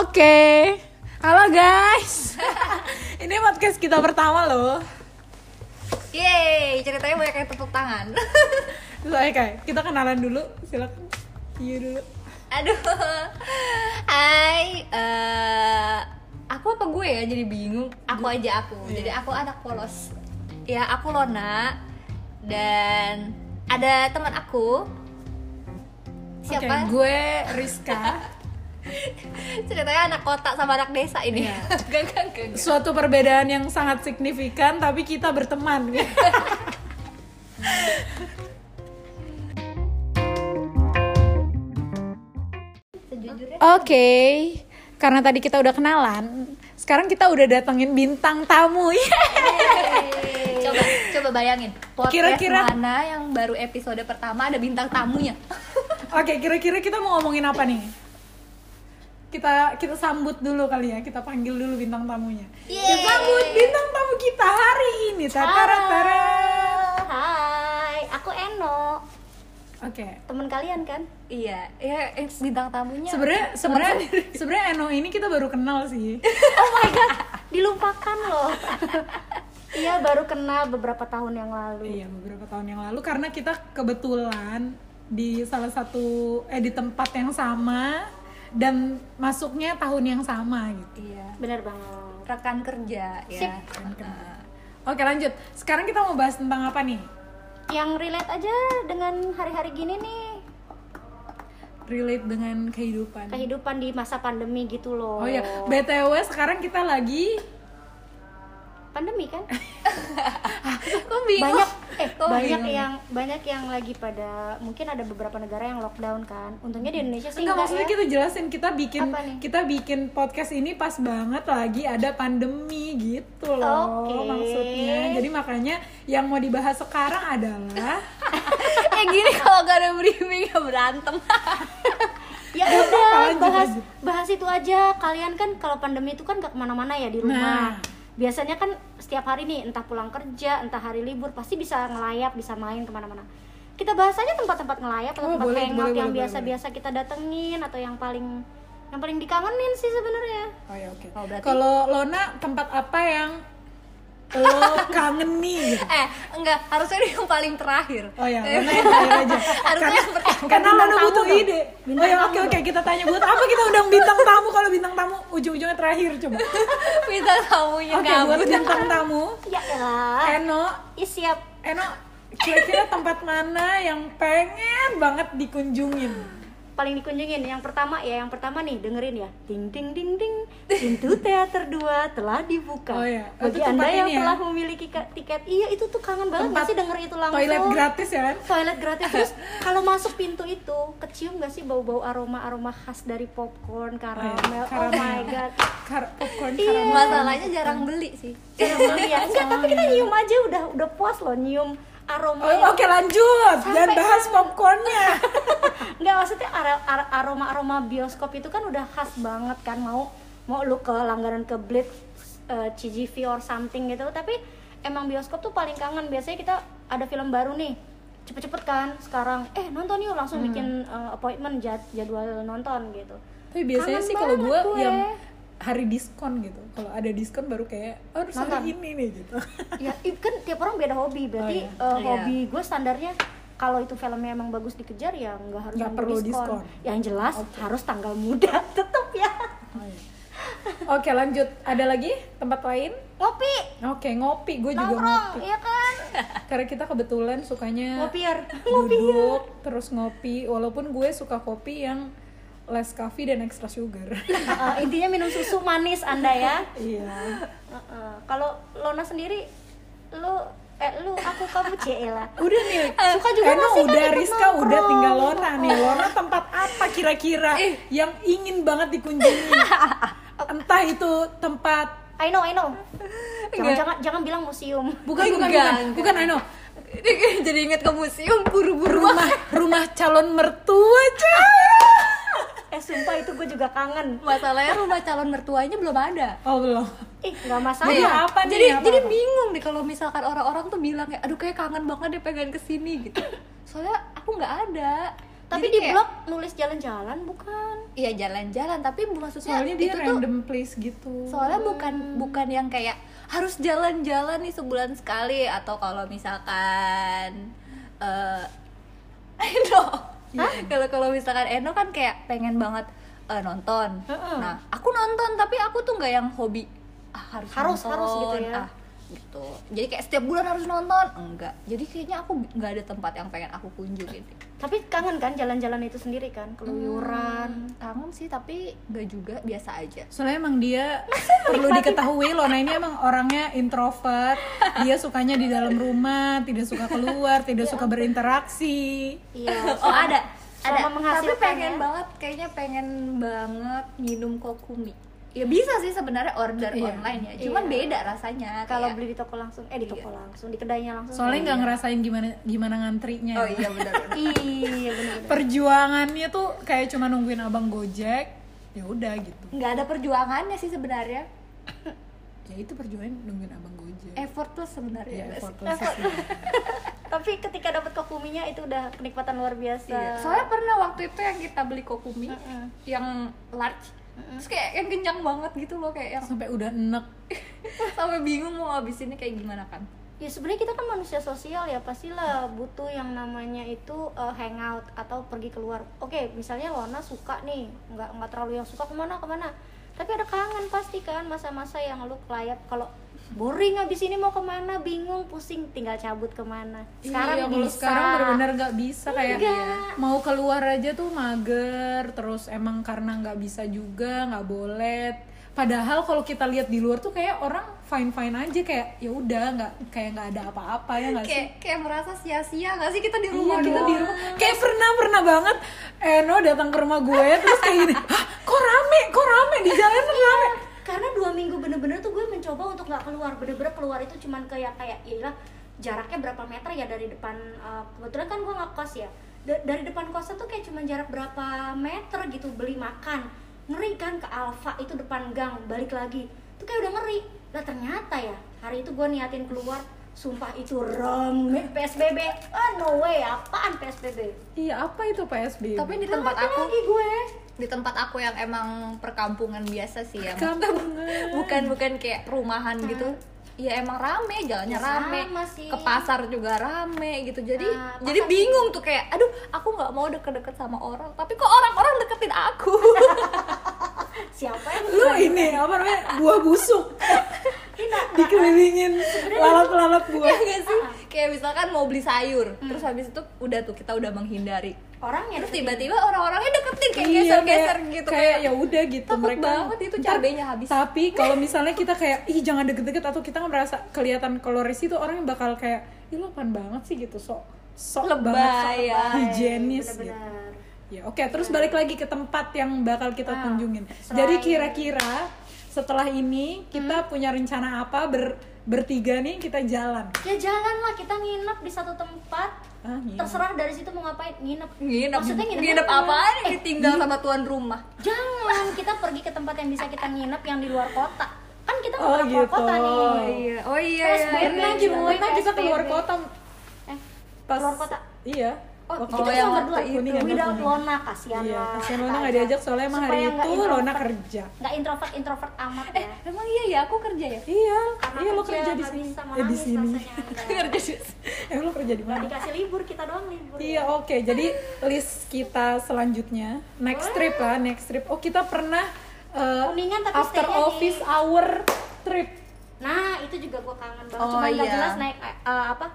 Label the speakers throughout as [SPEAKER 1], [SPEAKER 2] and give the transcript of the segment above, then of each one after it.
[SPEAKER 1] Oke, halo guys. Ini podcast kita pertama loh.
[SPEAKER 2] Yeay, ceritanya banyak yang tepuk tangan.
[SPEAKER 1] Terus ayo, Kai, kita kenalan dulu, silakan. Iya dulu.
[SPEAKER 2] Aduh. Hai, eh, aku apa gue ya jadi bingung. Aku aja aku.
[SPEAKER 1] Iya.
[SPEAKER 2] Jadi aku anak polos. Ya, aku Lona dan ada teman aku.
[SPEAKER 1] Oke,
[SPEAKER 2] Siapa?
[SPEAKER 1] gue Rizka.
[SPEAKER 2] Ceritanya anak kota sama anak desa ini.
[SPEAKER 1] Iya.
[SPEAKER 2] Gak, gak, gak, gak.
[SPEAKER 1] Suatu perbedaan yang sangat signifikan, tapi kita berteman.
[SPEAKER 2] Sejujurnya
[SPEAKER 1] Oke, karena tadi kita udah kenalan, sekarang kita udah datengin bintang tamu.
[SPEAKER 2] coba coba bayangin podcast
[SPEAKER 1] Kira-kira-
[SPEAKER 2] mana yang baru episode pertama ada bintang tamunya
[SPEAKER 1] Oke, kira-kira kita mau ngomongin apa nih? Kita kita sambut dulu kali ya, kita panggil dulu bintang tamunya. Kita
[SPEAKER 2] Yeay.
[SPEAKER 1] sambut bintang tamu kita hari ini. Tatara
[SPEAKER 3] Hai, aku Eno,
[SPEAKER 1] Oke.
[SPEAKER 3] temen kalian kan?
[SPEAKER 2] iya ya eh, bintang tamunya
[SPEAKER 1] Sebenarnya sebenarnya sebenarnya Eno ini kita baru kenal sih.
[SPEAKER 3] Dilupakan loh. Iya, baru kenal beberapa tahun yang lalu.
[SPEAKER 1] iya, beberapa tahun yang lalu karena kita kebetulan di salah satu eh di tempat yang sama dan masuknya tahun yang sama gitu.
[SPEAKER 2] iya
[SPEAKER 3] Bener banget.
[SPEAKER 2] rekan kerja ya Eh,
[SPEAKER 3] Sip.
[SPEAKER 2] Heeh.
[SPEAKER 1] Oke, lanjut. Sekarang kita mau bahas tentang apa nih?
[SPEAKER 3] Yang relate aja dengan hari-hari gini nih,
[SPEAKER 1] Relate dengan kehidupan.
[SPEAKER 3] kehidupan di masa pandemi gitu loh.
[SPEAKER 1] Oh ya, BTW sekarang kita lagi
[SPEAKER 3] Pandemi kan?
[SPEAKER 2] kok
[SPEAKER 1] Iya.
[SPEAKER 2] bingung
[SPEAKER 3] Banyak eh
[SPEAKER 1] Oh
[SPEAKER 2] Kok
[SPEAKER 3] banyak
[SPEAKER 2] bingung?
[SPEAKER 3] yang banyak yang lagi pada mungkin ada beberapa negara yang lockdown kan. Untungnya di Indonesia sih
[SPEAKER 1] enggak
[SPEAKER 3] enggak
[SPEAKER 1] maksudnya
[SPEAKER 3] ya.
[SPEAKER 1] kita jelasin kita bikin
[SPEAKER 3] Apa nih?
[SPEAKER 1] kita bikin podcast ini pas banget lagi ada pandemi gitu loh
[SPEAKER 3] Oke.
[SPEAKER 1] maksudnya. Jadi makanya yang mau dibahas sekarang adalah
[SPEAKER 2] eh gini kalau gak ada briefing ya berantem
[SPEAKER 3] Ya udah,
[SPEAKER 1] Lanjut,
[SPEAKER 3] bahas
[SPEAKER 1] lanjut.
[SPEAKER 3] bahas itu aja. Kalian kan kalau pandemi itu kan gak kemana-mana ya di
[SPEAKER 1] Nah.
[SPEAKER 3] rumah. Biasanya kan setiap hari nih, entah pulang kerja, entah hari libur, pasti bisa ngelayap, bisa main kemana-mana. Kita bahas aja tempat-tempat ngelayap,
[SPEAKER 1] Oh,
[SPEAKER 3] atau tempat
[SPEAKER 1] boleh,
[SPEAKER 3] hangout
[SPEAKER 1] boleh,
[SPEAKER 3] yang
[SPEAKER 1] boleh,
[SPEAKER 3] biasa-biasa kita datengin atau yang paling yang paling dikangenin sih sebenarnya.
[SPEAKER 1] Oh ya oke.
[SPEAKER 2] Oh, berarti-
[SPEAKER 1] Kalau Lona tempat apa yang lo kangen nih? gitu?
[SPEAKER 2] eh enggak harusnya dia yang paling terakhir
[SPEAKER 1] Oh ya, Lona yang terakhir aja.
[SPEAKER 2] harusnya yang pertama
[SPEAKER 1] Karena
[SPEAKER 3] bintang
[SPEAKER 1] Lona
[SPEAKER 3] tamu
[SPEAKER 1] butuh
[SPEAKER 3] dong.
[SPEAKER 1] ide.
[SPEAKER 3] Bintang
[SPEAKER 1] oh ya
[SPEAKER 3] tamu
[SPEAKER 1] oke oke kita tanya buat apa kita undang bintang tamu kalau bintang tamu ujung-ujungnya terakhir coba.
[SPEAKER 2] bintang tamunya
[SPEAKER 1] Oke buat
[SPEAKER 2] kabur
[SPEAKER 1] bintang tamu.
[SPEAKER 3] Ya elah.
[SPEAKER 1] Eno
[SPEAKER 3] Ih, siap.
[SPEAKER 1] Eno, kira-kira tempat mana yang pengen banget dikunjungin?
[SPEAKER 3] paling dikunjungin yang pertama ya yang pertama nih dengerin ya ding ding ding ding pintu teater 2 telah dibuka
[SPEAKER 1] Oh iya, itu
[SPEAKER 3] bagi
[SPEAKER 1] tempat
[SPEAKER 3] anda yang
[SPEAKER 1] ini ya?
[SPEAKER 3] telah memiliki ka- tiket iya itu tuh kangen
[SPEAKER 1] Tempat
[SPEAKER 3] banget nggak sih denger itu langsung
[SPEAKER 1] Toilet gratis ya kan?
[SPEAKER 3] Toilet gratis terus kalau masuk pintu itu kecium gak sih bau-bau aroma-aroma khas dari popcorn karamel
[SPEAKER 1] Oh iya,
[SPEAKER 3] oh,
[SPEAKER 1] karamel.
[SPEAKER 3] my god
[SPEAKER 1] Kar popcorn
[SPEAKER 3] Iya.
[SPEAKER 1] karamel.
[SPEAKER 2] masalahnya jarang beli sih
[SPEAKER 3] Jarang banget ya. enggak tapi kita nyium aja udah udah puas loh nyium aroma
[SPEAKER 1] Oh, oke lanjut, dan
[SPEAKER 3] Sampai
[SPEAKER 1] bahas popcornnya.
[SPEAKER 3] Nggak maksudnya ara- ara- aroma-aroma bioskop itu kan udah khas banget kan mau mau lu ke langganan ke Blitz, eh, CGV or something gitu tapi emang bioskop tuh paling kangen biasanya kita ada film baru nih cepet-cepet kan sekarang eh nonton yuk langsung
[SPEAKER 1] Hmm.
[SPEAKER 3] bikin eh, appointment jad- jadwal nonton gitu
[SPEAKER 1] Tapi biasanya
[SPEAKER 3] Kangen
[SPEAKER 1] sih kalau
[SPEAKER 3] banget
[SPEAKER 1] gue
[SPEAKER 3] gue.
[SPEAKER 1] yang hari diskon gitu, kalau ada diskon baru kayak, oh harus hari ini nih gitu.
[SPEAKER 3] ya i- kan tiap orang beda hobi berarti
[SPEAKER 1] Oh, iya.
[SPEAKER 3] eh,
[SPEAKER 2] Oh, iya.
[SPEAKER 3] hobi gue standarnya kalau itu filmnya emang bagus dikejar ya nggak harus
[SPEAKER 1] Nggak
[SPEAKER 3] nunggu
[SPEAKER 1] perlu diskon.
[SPEAKER 3] yang jelas harus tanggal muda tetep ya
[SPEAKER 1] Oh, iya. Oke lanjut, ada lagi tempat lain?
[SPEAKER 3] ngopi
[SPEAKER 1] Oke ngopi, gue juga
[SPEAKER 3] nongkrong
[SPEAKER 1] ngopi.
[SPEAKER 3] iya kan
[SPEAKER 1] Karena kita kebetulan sukanya
[SPEAKER 3] ngopier
[SPEAKER 1] duduk terus ngopi walaupun gue suka kopi yang less coffee dan extra sugar
[SPEAKER 3] Eh, intinya minum susu manis anda ya
[SPEAKER 1] iya
[SPEAKER 3] Eh, eh, kalau Lona sendiri lu eh lu aku kamu Cela
[SPEAKER 1] udah nih
[SPEAKER 3] suka juga
[SPEAKER 1] Eh, Eno
[SPEAKER 3] masih kan
[SPEAKER 1] udah
[SPEAKER 3] ikut
[SPEAKER 1] Rizka udah
[SPEAKER 3] nongkrong.
[SPEAKER 1] tinggal Lona nih Lona tempat apa kira-kira yang ingin banget dikunjungi entah itu tempat
[SPEAKER 3] I know I know jangan jangan jangan bilang museum
[SPEAKER 1] bukan bukan
[SPEAKER 2] Enggak,
[SPEAKER 1] bukan bukan Eno
[SPEAKER 2] jadi inget ke museum buru-buru
[SPEAKER 1] rumah rumah calon mertua cuy
[SPEAKER 3] eh sumpah itu gue juga kangen
[SPEAKER 2] masalahnya rumah calon mertuanya belum ada
[SPEAKER 1] oh belum
[SPEAKER 3] ih nggak
[SPEAKER 1] Jadi
[SPEAKER 3] masalah
[SPEAKER 1] apa nih,
[SPEAKER 2] jadi
[SPEAKER 1] apa,
[SPEAKER 2] jadi
[SPEAKER 1] apa?
[SPEAKER 2] bingung deh kalau misalkan orang-orang tuh bilang kayak aduh kayak kangen banget deh pengen kesini gitu soalnya aku nggak ada Jadi
[SPEAKER 3] Tapi di
[SPEAKER 2] kayak-
[SPEAKER 3] blog nulis jalan-jalan bukan?
[SPEAKER 2] Iya jalan-jalan, tapi bu- maksudnya
[SPEAKER 1] soalnya dia
[SPEAKER 2] Iya, itu tuh
[SPEAKER 1] random place gitu
[SPEAKER 2] soalnya bukan bukan yang kayak harus jalan-jalan nih sebulan sekali atau kalau misalkan eh Eno
[SPEAKER 3] Iya.
[SPEAKER 2] kalau kalau misalkan Eno kan kayak pengen banget eh, nonton
[SPEAKER 1] Heeh.
[SPEAKER 2] nah aku nonton tapi aku tuh nggak yang hobi ah, harus
[SPEAKER 3] Harus,
[SPEAKER 2] nonton,
[SPEAKER 3] harus gitu ya.
[SPEAKER 2] ah, gitu jadi kayak setiap bulan harus nonton enggak jadi kayaknya aku nggak ada tempat yang pengen aku kunjungin
[SPEAKER 3] Tapi kangen kan jalan-jalan itu sendiri kan, keluyuran.
[SPEAKER 2] Hmm, kangen sih tapi nggak juga biasa aja
[SPEAKER 1] Soalnya emang dia perlu diketahui Lona ini emang orangnya introvert. Dia sukanya di dalam rumah, tidak suka keluar, tidak
[SPEAKER 2] Iya.
[SPEAKER 1] suka berinteraksi.
[SPEAKER 3] Iya.
[SPEAKER 2] Oh ada, ada.
[SPEAKER 3] Selama
[SPEAKER 2] Tapi
[SPEAKER 3] menghasilkan
[SPEAKER 2] pengen
[SPEAKER 3] ya.
[SPEAKER 2] banget, kayaknya pengen banget minum kokumi. Ya bisa sih sebenarnya order
[SPEAKER 1] Iya.
[SPEAKER 2] online ya, cuman
[SPEAKER 3] Iya.
[SPEAKER 2] beda rasanya.
[SPEAKER 1] Oh,
[SPEAKER 3] Kalau
[SPEAKER 2] kayak-
[SPEAKER 3] beli di toko langsung, eh di toko
[SPEAKER 1] Iya.
[SPEAKER 3] langsung, di kedainya langsung.
[SPEAKER 1] Soalnya nggak ngerasain gimana gimana ngantrinya.
[SPEAKER 2] Oh iya benar. benar.
[SPEAKER 3] Iya benar.
[SPEAKER 1] Perjuangannya tuh kayak cuma nungguin abang Gojek. Ya udah gitu.
[SPEAKER 2] Nggak ada perjuangannya sih sebenarnya.
[SPEAKER 1] Ya itu perjuangan nungguin abang Gojek.
[SPEAKER 2] Effortless sebenarnya.
[SPEAKER 1] Ya,
[SPEAKER 2] nggak sih?
[SPEAKER 1] effortless sih.
[SPEAKER 3] Tapi ketika dapat kokuminya itu udah kenikmatan luar biasa.
[SPEAKER 2] Iya. Soalnya pernah waktu itu yang kita beli kokumi
[SPEAKER 3] Mm-mm.
[SPEAKER 2] yang large. Terus kayak yang kenyang banget gitu loh kayak yang
[SPEAKER 1] Sampai udah enek.
[SPEAKER 2] sampai bingung mau habisinnya kayak gimana kan.
[SPEAKER 3] ya sebenarnya kita kan manusia sosial ya pastilah butuh yang namanya itu eh, hangout atau pergi keluar oke misalnya Lona suka nih nggak nggak terlalu yang suka kemana kemana tapi ada kangen pasti kan masa-masa yang lu kelayap kalau boring abis ini mau kemana bingung pusing tinggal cabut kemana
[SPEAKER 1] Iya,
[SPEAKER 3] sekarang
[SPEAKER 1] kalau
[SPEAKER 3] bisa
[SPEAKER 1] sekarang benar-benar nggak bisa kayak
[SPEAKER 3] Nggak.
[SPEAKER 1] mau keluar aja tuh mager terus emang karena nggak bisa juga nggak boleh padahal kalau kita lihat di luar tuh kayak orang fine fine aja kayak ya udah nggak kayak nggak ada apa-apa ya nggak sih
[SPEAKER 2] Kayak kayak merasa sia-sia nggak sih kita di
[SPEAKER 1] Iya
[SPEAKER 2] rumah gitu.
[SPEAKER 1] kita di
[SPEAKER 2] doang?
[SPEAKER 1] rumah kayak pernah pernah banget Eno datang ke rumah gue terus kayak gini hah kok rame kok rame di jalanan rame
[SPEAKER 3] karena dua minggu bener-bener tuh gue mencoba untuk nggak keluar bener-bener keluar itu cuman kayak kayak ya iyalah jaraknya berapa meter ya dari depan uh, kebetulan kan gue ngekos ya Da- dari depan kosan tuh kayak cuman jarak berapa meter gitu beli makan ngeri kan ke Alfa itu depan gang balik lagi tuh kayak udah ngeri lah ternyata ya hari itu gue niatin keluar sumpah itu rame PSBB ah no way apaan PSBB
[SPEAKER 1] iya apa itu PSBB
[SPEAKER 2] Tapi di tempat
[SPEAKER 3] Ngeliatin
[SPEAKER 2] aku
[SPEAKER 3] lagi gue
[SPEAKER 2] di tempat aku yang emang perkampungan biasa sih ya
[SPEAKER 1] Kampungan.
[SPEAKER 2] bukan bukan kayak perumahan gitu ya emang rame jalannya
[SPEAKER 3] Ya, sama
[SPEAKER 2] rame
[SPEAKER 3] sih.
[SPEAKER 2] ke pasar juga rame gitu jadi
[SPEAKER 3] Nah,
[SPEAKER 2] jadi
[SPEAKER 3] pasar-
[SPEAKER 2] bingung tuh kayak aduh aku nggak mau deket-deket sama orang tapi kok orang-orang deketin aku
[SPEAKER 3] siapa ya? yang
[SPEAKER 1] lu ini apa namanya buah busuk dikelilingin lalat-lalat buah
[SPEAKER 2] ya nggak sih
[SPEAKER 3] Ah.
[SPEAKER 2] kayak misalkan mau beli sayur
[SPEAKER 3] Hmm.
[SPEAKER 2] terus habis itu udah tuh kita udah menghindari
[SPEAKER 3] orangnya
[SPEAKER 2] terus
[SPEAKER 3] deketin.
[SPEAKER 2] tiba-tiba orang-orangnya deketin kayak
[SPEAKER 1] Iya,
[SPEAKER 2] geser-geser
[SPEAKER 1] kayak-
[SPEAKER 2] gitu
[SPEAKER 1] kayak ya udah gitu
[SPEAKER 2] Takut
[SPEAKER 1] mereka
[SPEAKER 2] banget itu
[SPEAKER 1] Ntar,
[SPEAKER 2] cabenya habis.
[SPEAKER 1] tapi kalau misalnya kita kayak ih jangan deket-deket atau kita nggak merasa kelihatan koloris itu orang yang bakal kayak ih lu apaan banget sih gitu sok sok
[SPEAKER 2] Lebay,
[SPEAKER 1] banget sok
[SPEAKER 2] ya.
[SPEAKER 3] iya,
[SPEAKER 1] higienis gitu
[SPEAKER 3] bener-bener
[SPEAKER 1] ya oke terus balik lagi ke tempat yang bakal kita kunjungin
[SPEAKER 3] selain-
[SPEAKER 1] jadi kira-kira setelah ini kita punya rencana apa ber bertiga nih kita jalan
[SPEAKER 3] ya jalan lah kita nginep di satu tempat
[SPEAKER 1] ah, iya.
[SPEAKER 3] terserah dari situ mau ngapain nginep
[SPEAKER 2] nginep
[SPEAKER 3] maksudnya nginep,
[SPEAKER 2] nginep
[SPEAKER 3] mana?
[SPEAKER 2] apaan
[SPEAKER 3] Eh,
[SPEAKER 2] ditinggal sama tuan rumah
[SPEAKER 3] jangan kita pergi ke tempat yang bisa kita nginep yang di luar kota kan kita mau
[SPEAKER 1] Oh,
[SPEAKER 3] keluar
[SPEAKER 1] gitu.
[SPEAKER 3] kota nih
[SPEAKER 1] Oh,
[SPEAKER 2] iya oh iya
[SPEAKER 3] Terus
[SPEAKER 2] iya,
[SPEAKER 3] bayar
[SPEAKER 2] iya.
[SPEAKER 1] pernah
[SPEAKER 3] Iya,
[SPEAKER 1] juga
[SPEAKER 3] iya.
[SPEAKER 1] pernah kita keluar
[SPEAKER 3] PSBB.
[SPEAKER 1] kota
[SPEAKER 3] eh
[SPEAKER 1] pas
[SPEAKER 3] Keluar kota?
[SPEAKER 1] iya
[SPEAKER 3] oh,
[SPEAKER 1] waktu-
[SPEAKER 3] kita
[SPEAKER 2] Oh, yang
[SPEAKER 3] cuma
[SPEAKER 2] waktu
[SPEAKER 3] berdua
[SPEAKER 1] itu.
[SPEAKER 3] itu
[SPEAKER 1] Kuningan,
[SPEAKER 3] without
[SPEAKER 1] Kuningan.
[SPEAKER 3] Lona kasihan
[SPEAKER 1] Iya,
[SPEAKER 3] lah
[SPEAKER 1] kasihan Lona nggak diajak, soalnya emang hari itu Lona Eh. kerja.
[SPEAKER 3] nggak introvert introvert amat ya
[SPEAKER 2] Emang iya ya, aku kerja ya?
[SPEAKER 1] Iya,
[SPEAKER 3] karena
[SPEAKER 1] iya lo kerja
[SPEAKER 3] nggak
[SPEAKER 1] di sini.
[SPEAKER 3] bisa
[SPEAKER 1] Eh di
[SPEAKER 3] menangis
[SPEAKER 1] sini.
[SPEAKER 3] rasanya Anda.
[SPEAKER 2] kerja sih.
[SPEAKER 1] Eh lo kerja di
[SPEAKER 3] Nggak
[SPEAKER 1] mana?
[SPEAKER 3] dikasih libur kita doang libur
[SPEAKER 1] Iya, oke. Jadi list kita selanjutnya next trip lah, next trip. Oh, kita pernah eh,
[SPEAKER 3] Kuningan tapi
[SPEAKER 1] after
[SPEAKER 3] stay-nya di-
[SPEAKER 1] office hour trip.
[SPEAKER 3] Nah, itu juga gue kangen banget.
[SPEAKER 2] Oh,
[SPEAKER 3] Cuma nggak
[SPEAKER 2] iya.
[SPEAKER 3] jelas naik eh, apa?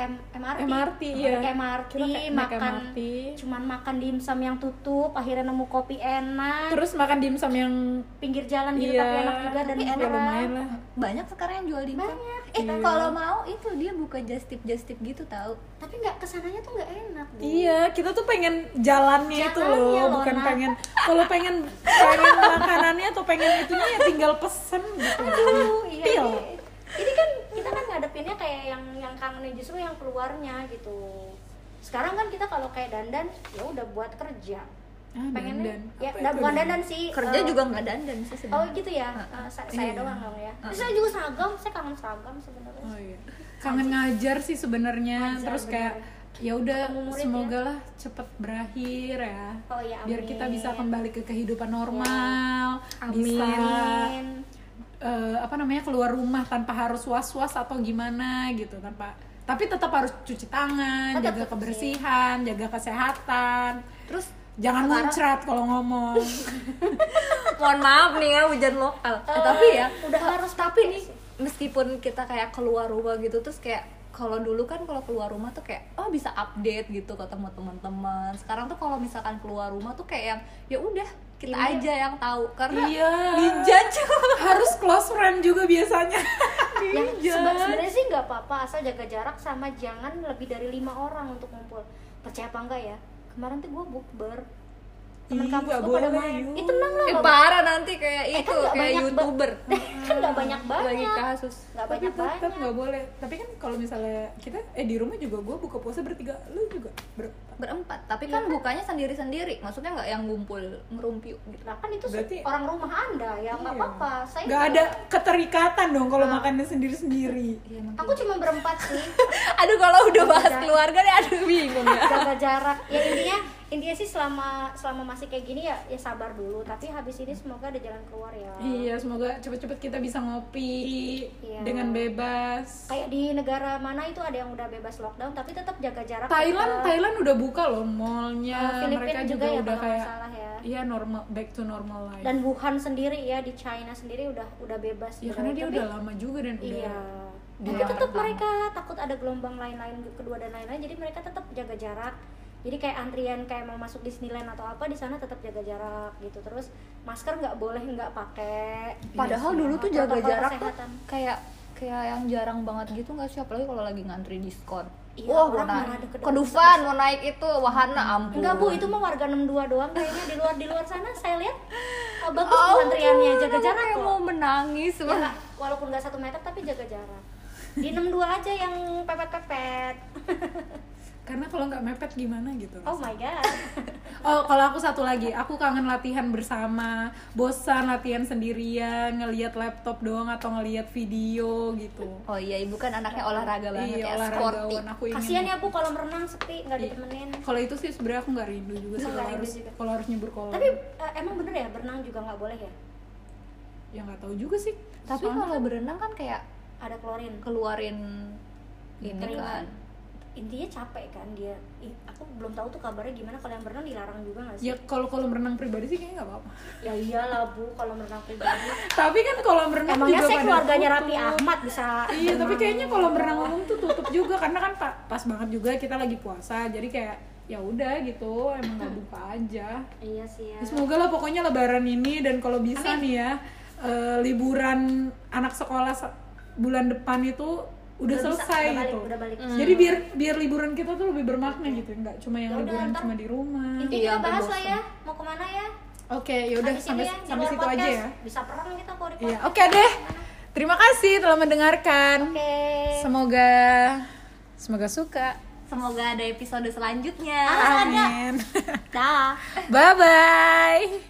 [SPEAKER 3] M MRT.
[SPEAKER 1] MRT, iya.
[SPEAKER 3] Naik MRT,
[SPEAKER 1] Kita kayak naik
[SPEAKER 3] makan
[SPEAKER 1] MRT.
[SPEAKER 3] cuman makan dimsum yang tutup, akhirnya nemu kopi enak.
[SPEAKER 1] Terus makan dimsum yang
[SPEAKER 3] pinggir jalan gitu
[SPEAKER 1] Iya,
[SPEAKER 3] tapi enak juga dan
[SPEAKER 1] tapi enak.
[SPEAKER 3] murah.
[SPEAKER 1] lumayan lah.
[SPEAKER 2] Banyak sekarang yang jual di
[SPEAKER 3] Banyak.
[SPEAKER 2] Eh, kalau mau itu dia buka just tip just tip gitu tahu.
[SPEAKER 3] Tapi nggak kesananya tuh nggak enak. Bu.
[SPEAKER 1] Iya, kita tuh pengen jalannya itu
[SPEAKER 3] Jalannya,
[SPEAKER 1] loh, bukan
[SPEAKER 3] Lona.
[SPEAKER 1] pengen kalau pengen pengen makanannya atau pengen itunya ya tinggal pesen gitu.
[SPEAKER 3] Aduh, iya.
[SPEAKER 1] Pil.
[SPEAKER 3] ini- Ini kan kita kan ngadepinnya kayak yang yang kangennya justru yang keluarnya gitu. Sekarang kan kita kalau kayak dandan ya udah buat kerja.
[SPEAKER 1] Ah,
[SPEAKER 3] Pengennya
[SPEAKER 1] dandan.
[SPEAKER 3] ya
[SPEAKER 1] Apa
[SPEAKER 3] nggak-
[SPEAKER 1] itu
[SPEAKER 3] bukan
[SPEAKER 1] dandan?
[SPEAKER 3] dandan sih.
[SPEAKER 2] Kerja
[SPEAKER 3] eh,
[SPEAKER 2] juga nggak dandan sih
[SPEAKER 3] Oh
[SPEAKER 2] sebenarnya.
[SPEAKER 3] gitu ya, Eh, sa- saya
[SPEAKER 1] Iya.
[SPEAKER 3] doang dong ya. Terus saya juga
[SPEAKER 1] iya.
[SPEAKER 3] seragam, saya kangen seragam sebenarnya.
[SPEAKER 1] Oh iya. Kangen ngajar sih sebenarnya.
[SPEAKER 3] Ngajar,
[SPEAKER 1] Terus kayak ya udah
[SPEAKER 3] Ketemu murid
[SPEAKER 1] semoga lah cepet berakhir ya
[SPEAKER 3] Oh ya,
[SPEAKER 1] biar kita
[SPEAKER 3] amin. Iya.
[SPEAKER 1] bisa kembali ke kehidupan normal bisa
[SPEAKER 3] Amin.
[SPEAKER 1] eh, apa namanya keluar rumah tanpa harus was was atau gimana gitu tanpa tapi tetap harus cuci tangan
[SPEAKER 2] Tetap
[SPEAKER 3] Oh,
[SPEAKER 1] jaga
[SPEAKER 2] cuci.
[SPEAKER 1] kebersihan jaga kesehatan
[SPEAKER 2] Terus
[SPEAKER 1] jangan
[SPEAKER 2] Sekarang-
[SPEAKER 1] muncrat kalau ngomong
[SPEAKER 2] mohon maaf nih ya hujan lokal. Eh,
[SPEAKER 3] Eh,
[SPEAKER 2] tapi ya
[SPEAKER 3] udah harus
[SPEAKER 2] tapi nih meskipun kita kayak keluar rumah gitu terus kayak kalau dulu kan kalau keluar rumah tuh kayak oh bisa update gitu ketemu teman-teman. Sekarang tuh kalau misalkan keluar rumah tuh kayak yang ya udah kita
[SPEAKER 3] Iya.
[SPEAKER 2] aja yang tahu karena
[SPEAKER 1] Iya.
[SPEAKER 2] dijudge.
[SPEAKER 1] harus close friend juga biasanya
[SPEAKER 3] Ya,
[SPEAKER 1] Iya.
[SPEAKER 3] seba- sebenarnya sih nggak apa-apa asal jaga jarak sama jangan lebih dari lima orang untuk ngumpul. Percaya apa enggak ya? Kemarin tuh gue bukber. Temen
[SPEAKER 1] Ih,
[SPEAKER 3] kampus
[SPEAKER 1] nggak
[SPEAKER 3] gue pada
[SPEAKER 1] boleh,
[SPEAKER 3] main.
[SPEAKER 1] yuk.
[SPEAKER 3] Ih, tenang
[SPEAKER 2] Eh,
[SPEAKER 3] lah. nggak
[SPEAKER 2] parah nanti kayak
[SPEAKER 3] Iya. Eh,
[SPEAKER 2] itu
[SPEAKER 3] kan nggak
[SPEAKER 2] kayak
[SPEAKER 3] banyak ba-
[SPEAKER 2] youtuber
[SPEAKER 3] kan
[SPEAKER 1] Ah,
[SPEAKER 3] nggak banyak
[SPEAKER 2] lagi
[SPEAKER 3] banyak.
[SPEAKER 2] kasus.
[SPEAKER 3] Nggak
[SPEAKER 1] tapi
[SPEAKER 3] banyak banyak.
[SPEAKER 1] tetap nggak boleh tapi kan kalau misalnya kita eh di rumah juga gue buka puasa bertiga lu juga berempat
[SPEAKER 2] berempat tapi
[SPEAKER 3] Iya
[SPEAKER 2] kan bukanya sendiri-sendiri maksudnya nggak yang ngumpul ngerumpiu gitu
[SPEAKER 3] Nah, kan itu se-
[SPEAKER 1] Berarti-
[SPEAKER 3] orang rumah anda ya nggak
[SPEAKER 1] Iya.
[SPEAKER 3] apa-apa. Saya
[SPEAKER 1] nggak ada keterikatan dong kalau makannya sendiri sendiri
[SPEAKER 2] Iya, emang
[SPEAKER 3] Aku cuma berempat sih.
[SPEAKER 2] aduh kalau udah bahas
[SPEAKER 3] Udah. Iya
[SPEAKER 2] keluarga nih aduh bingung ya
[SPEAKER 3] jaga jarak. Ya intinya intinya sih selama selama masih kayak gini ya ya sabar dulu. Tapi habis ini semoga ada jalan keluar ya.
[SPEAKER 1] iya semoga cepet-cepet kita bisa ngopi
[SPEAKER 3] Iya.
[SPEAKER 1] dengan bebas
[SPEAKER 3] Kayak di negara mana itu ada yang udah bebas lockdown tapi tetap jaga jarak.
[SPEAKER 1] Thailand
[SPEAKER 3] tetap.
[SPEAKER 1] Thailand udah buka loh
[SPEAKER 3] Eh,
[SPEAKER 1] mallnya
[SPEAKER 3] Filipina
[SPEAKER 1] mereka
[SPEAKER 3] juga
[SPEAKER 1] juga,
[SPEAKER 3] ya,
[SPEAKER 1] udah
[SPEAKER 3] kalau nggak
[SPEAKER 1] kayak
[SPEAKER 3] salah ya.
[SPEAKER 1] iya normal back to normal life
[SPEAKER 3] dan Wuhan sendiri ya di China sendiri udah udah bebas
[SPEAKER 1] ya
[SPEAKER 3] gitu.
[SPEAKER 1] karena dia
[SPEAKER 3] Tapi-
[SPEAKER 1] udah lama juga dan
[SPEAKER 3] iya
[SPEAKER 1] udah
[SPEAKER 2] Dia
[SPEAKER 3] tapi tetap
[SPEAKER 2] pertama.
[SPEAKER 3] mereka takut ada gelombang lain-lain kedua dan lain-lain jadi mereka tetap jaga jarak jadi kayak antrian kayak mau masuk Disneyland atau apa di sana tetap jaga jarak gitu terus masker nggak boleh nggak pakai
[SPEAKER 2] padahal
[SPEAKER 3] Iya,
[SPEAKER 2] dulu tuh jaga
[SPEAKER 3] protokol
[SPEAKER 2] jarak tuh
[SPEAKER 3] kesehatan.
[SPEAKER 2] kayak kayak yang jarang banget gitu nggak sih apalagi kalau lagi ngantri diskon
[SPEAKER 3] Iya,
[SPEAKER 2] wah mau
[SPEAKER 3] orang malah
[SPEAKER 2] naik
[SPEAKER 3] ada kedufan.
[SPEAKER 2] kedufan mau naik itu wahana ampun
[SPEAKER 3] Enggak bu, itu mah warga 62 doang kayaknya di luar di luar sana saya lihat oh, bagus
[SPEAKER 2] Oh,
[SPEAKER 3] tuh antriannya jaga
[SPEAKER 2] aku
[SPEAKER 3] jarak
[SPEAKER 2] kayak
[SPEAKER 3] kok.
[SPEAKER 2] mau menangis
[SPEAKER 3] Ya,
[SPEAKER 2] banget.
[SPEAKER 3] nggak? walaupun nggak satu meter tapi jaga jarak. Di 62 aja yang pepet-pepet.
[SPEAKER 1] karena kalau nggak mepet gimana gitu
[SPEAKER 3] Oh my god.
[SPEAKER 1] Oh, kalau aku satu lagi, aku kangen latihan bersama, bosan latihan sendirian, ngelihat laptop doang atau ngelihat video gitu.
[SPEAKER 2] oh iya ibu kan anaknya olahraga banget
[SPEAKER 1] Iya,
[SPEAKER 2] ya sporty
[SPEAKER 1] olahragawan aku ingin.
[SPEAKER 3] Kasihan ya bu kolam renang sepi nggak ditemenin.
[SPEAKER 1] Kalau itu sih sebenarnya aku nggak rindu juga sih
[SPEAKER 3] Nggak
[SPEAKER 1] kalau
[SPEAKER 3] rindu
[SPEAKER 1] harus
[SPEAKER 3] juga.
[SPEAKER 1] kalau harus nyebur kolam.
[SPEAKER 3] Tapi eh, emang bener ya berenang juga nggak boleh ya?
[SPEAKER 1] ya nggak tahu juga sih.
[SPEAKER 2] tapi
[SPEAKER 1] Soalnya-
[SPEAKER 2] kalau berenang kan kayak
[SPEAKER 3] Ada klorin.
[SPEAKER 2] keluarin ini
[SPEAKER 3] Keringat.
[SPEAKER 2] kan
[SPEAKER 3] Intinya capek kan dia. Ih, aku belum tahu tuh kabarnya gimana kalau yang berenang dilarang juga nggak sih?
[SPEAKER 1] ya kalau kolam renang pribadi sih kayaknya nggak apa-apa.
[SPEAKER 3] Ya iyalah bu kalau renang pribadi.
[SPEAKER 1] Tapi kan kolam renang
[SPEAKER 3] Emangnya
[SPEAKER 1] juga
[SPEAKER 3] saya
[SPEAKER 1] pada
[SPEAKER 3] keluarganya
[SPEAKER 1] tutup.
[SPEAKER 3] Raffi Ahmad bisa
[SPEAKER 1] Iya, tapi
[SPEAKER 3] berenang?
[SPEAKER 1] kayaknya kolam renang umum tuh tutup juga karena kan pa- pas banget juga kita lagi puasa, jadi kayak ya udah gitu, emang nggak
[SPEAKER 3] Hmm.
[SPEAKER 1] buka aja.
[SPEAKER 3] Iya sih ya.
[SPEAKER 1] Ya, Semoga lah pokoknya lebaran ini dan kalau bisa nih ya eh, liburan anak sekolah se- bulan depan itu udah
[SPEAKER 3] Udah bisa,
[SPEAKER 1] selesai
[SPEAKER 3] udah balik,
[SPEAKER 1] gitu.
[SPEAKER 3] udah balik.
[SPEAKER 1] Jadi biar biar liburan kita tuh lebih bermakna gitu, nggak cuma yang
[SPEAKER 3] Ya udah,
[SPEAKER 1] liburan
[SPEAKER 3] ntar-
[SPEAKER 1] cuma di rumah.
[SPEAKER 3] Intinya
[SPEAKER 2] Iya,
[SPEAKER 3] kita
[SPEAKER 2] sampai
[SPEAKER 3] bahas lah
[SPEAKER 2] bosen.
[SPEAKER 3] ya. Mau kemana ya?
[SPEAKER 1] Oke, yaudah
[SPEAKER 3] Habis
[SPEAKER 1] sampai
[SPEAKER 3] ini ya, di
[SPEAKER 1] sampai
[SPEAKER 3] luar
[SPEAKER 1] situ aja
[SPEAKER 3] podcast.
[SPEAKER 1] ya.
[SPEAKER 3] Bisa perang kita kalau di
[SPEAKER 1] Iya,
[SPEAKER 3] podcast.
[SPEAKER 1] oke deh. Terima kasih telah mendengarkan.
[SPEAKER 3] Oke.
[SPEAKER 1] Semoga semoga suka.
[SPEAKER 2] semoga ada episode selanjutnya
[SPEAKER 3] Ah, ada.
[SPEAKER 1] Amin.
[SPEAKER 3] Dah.
[SPEAKER 1] Bye bye.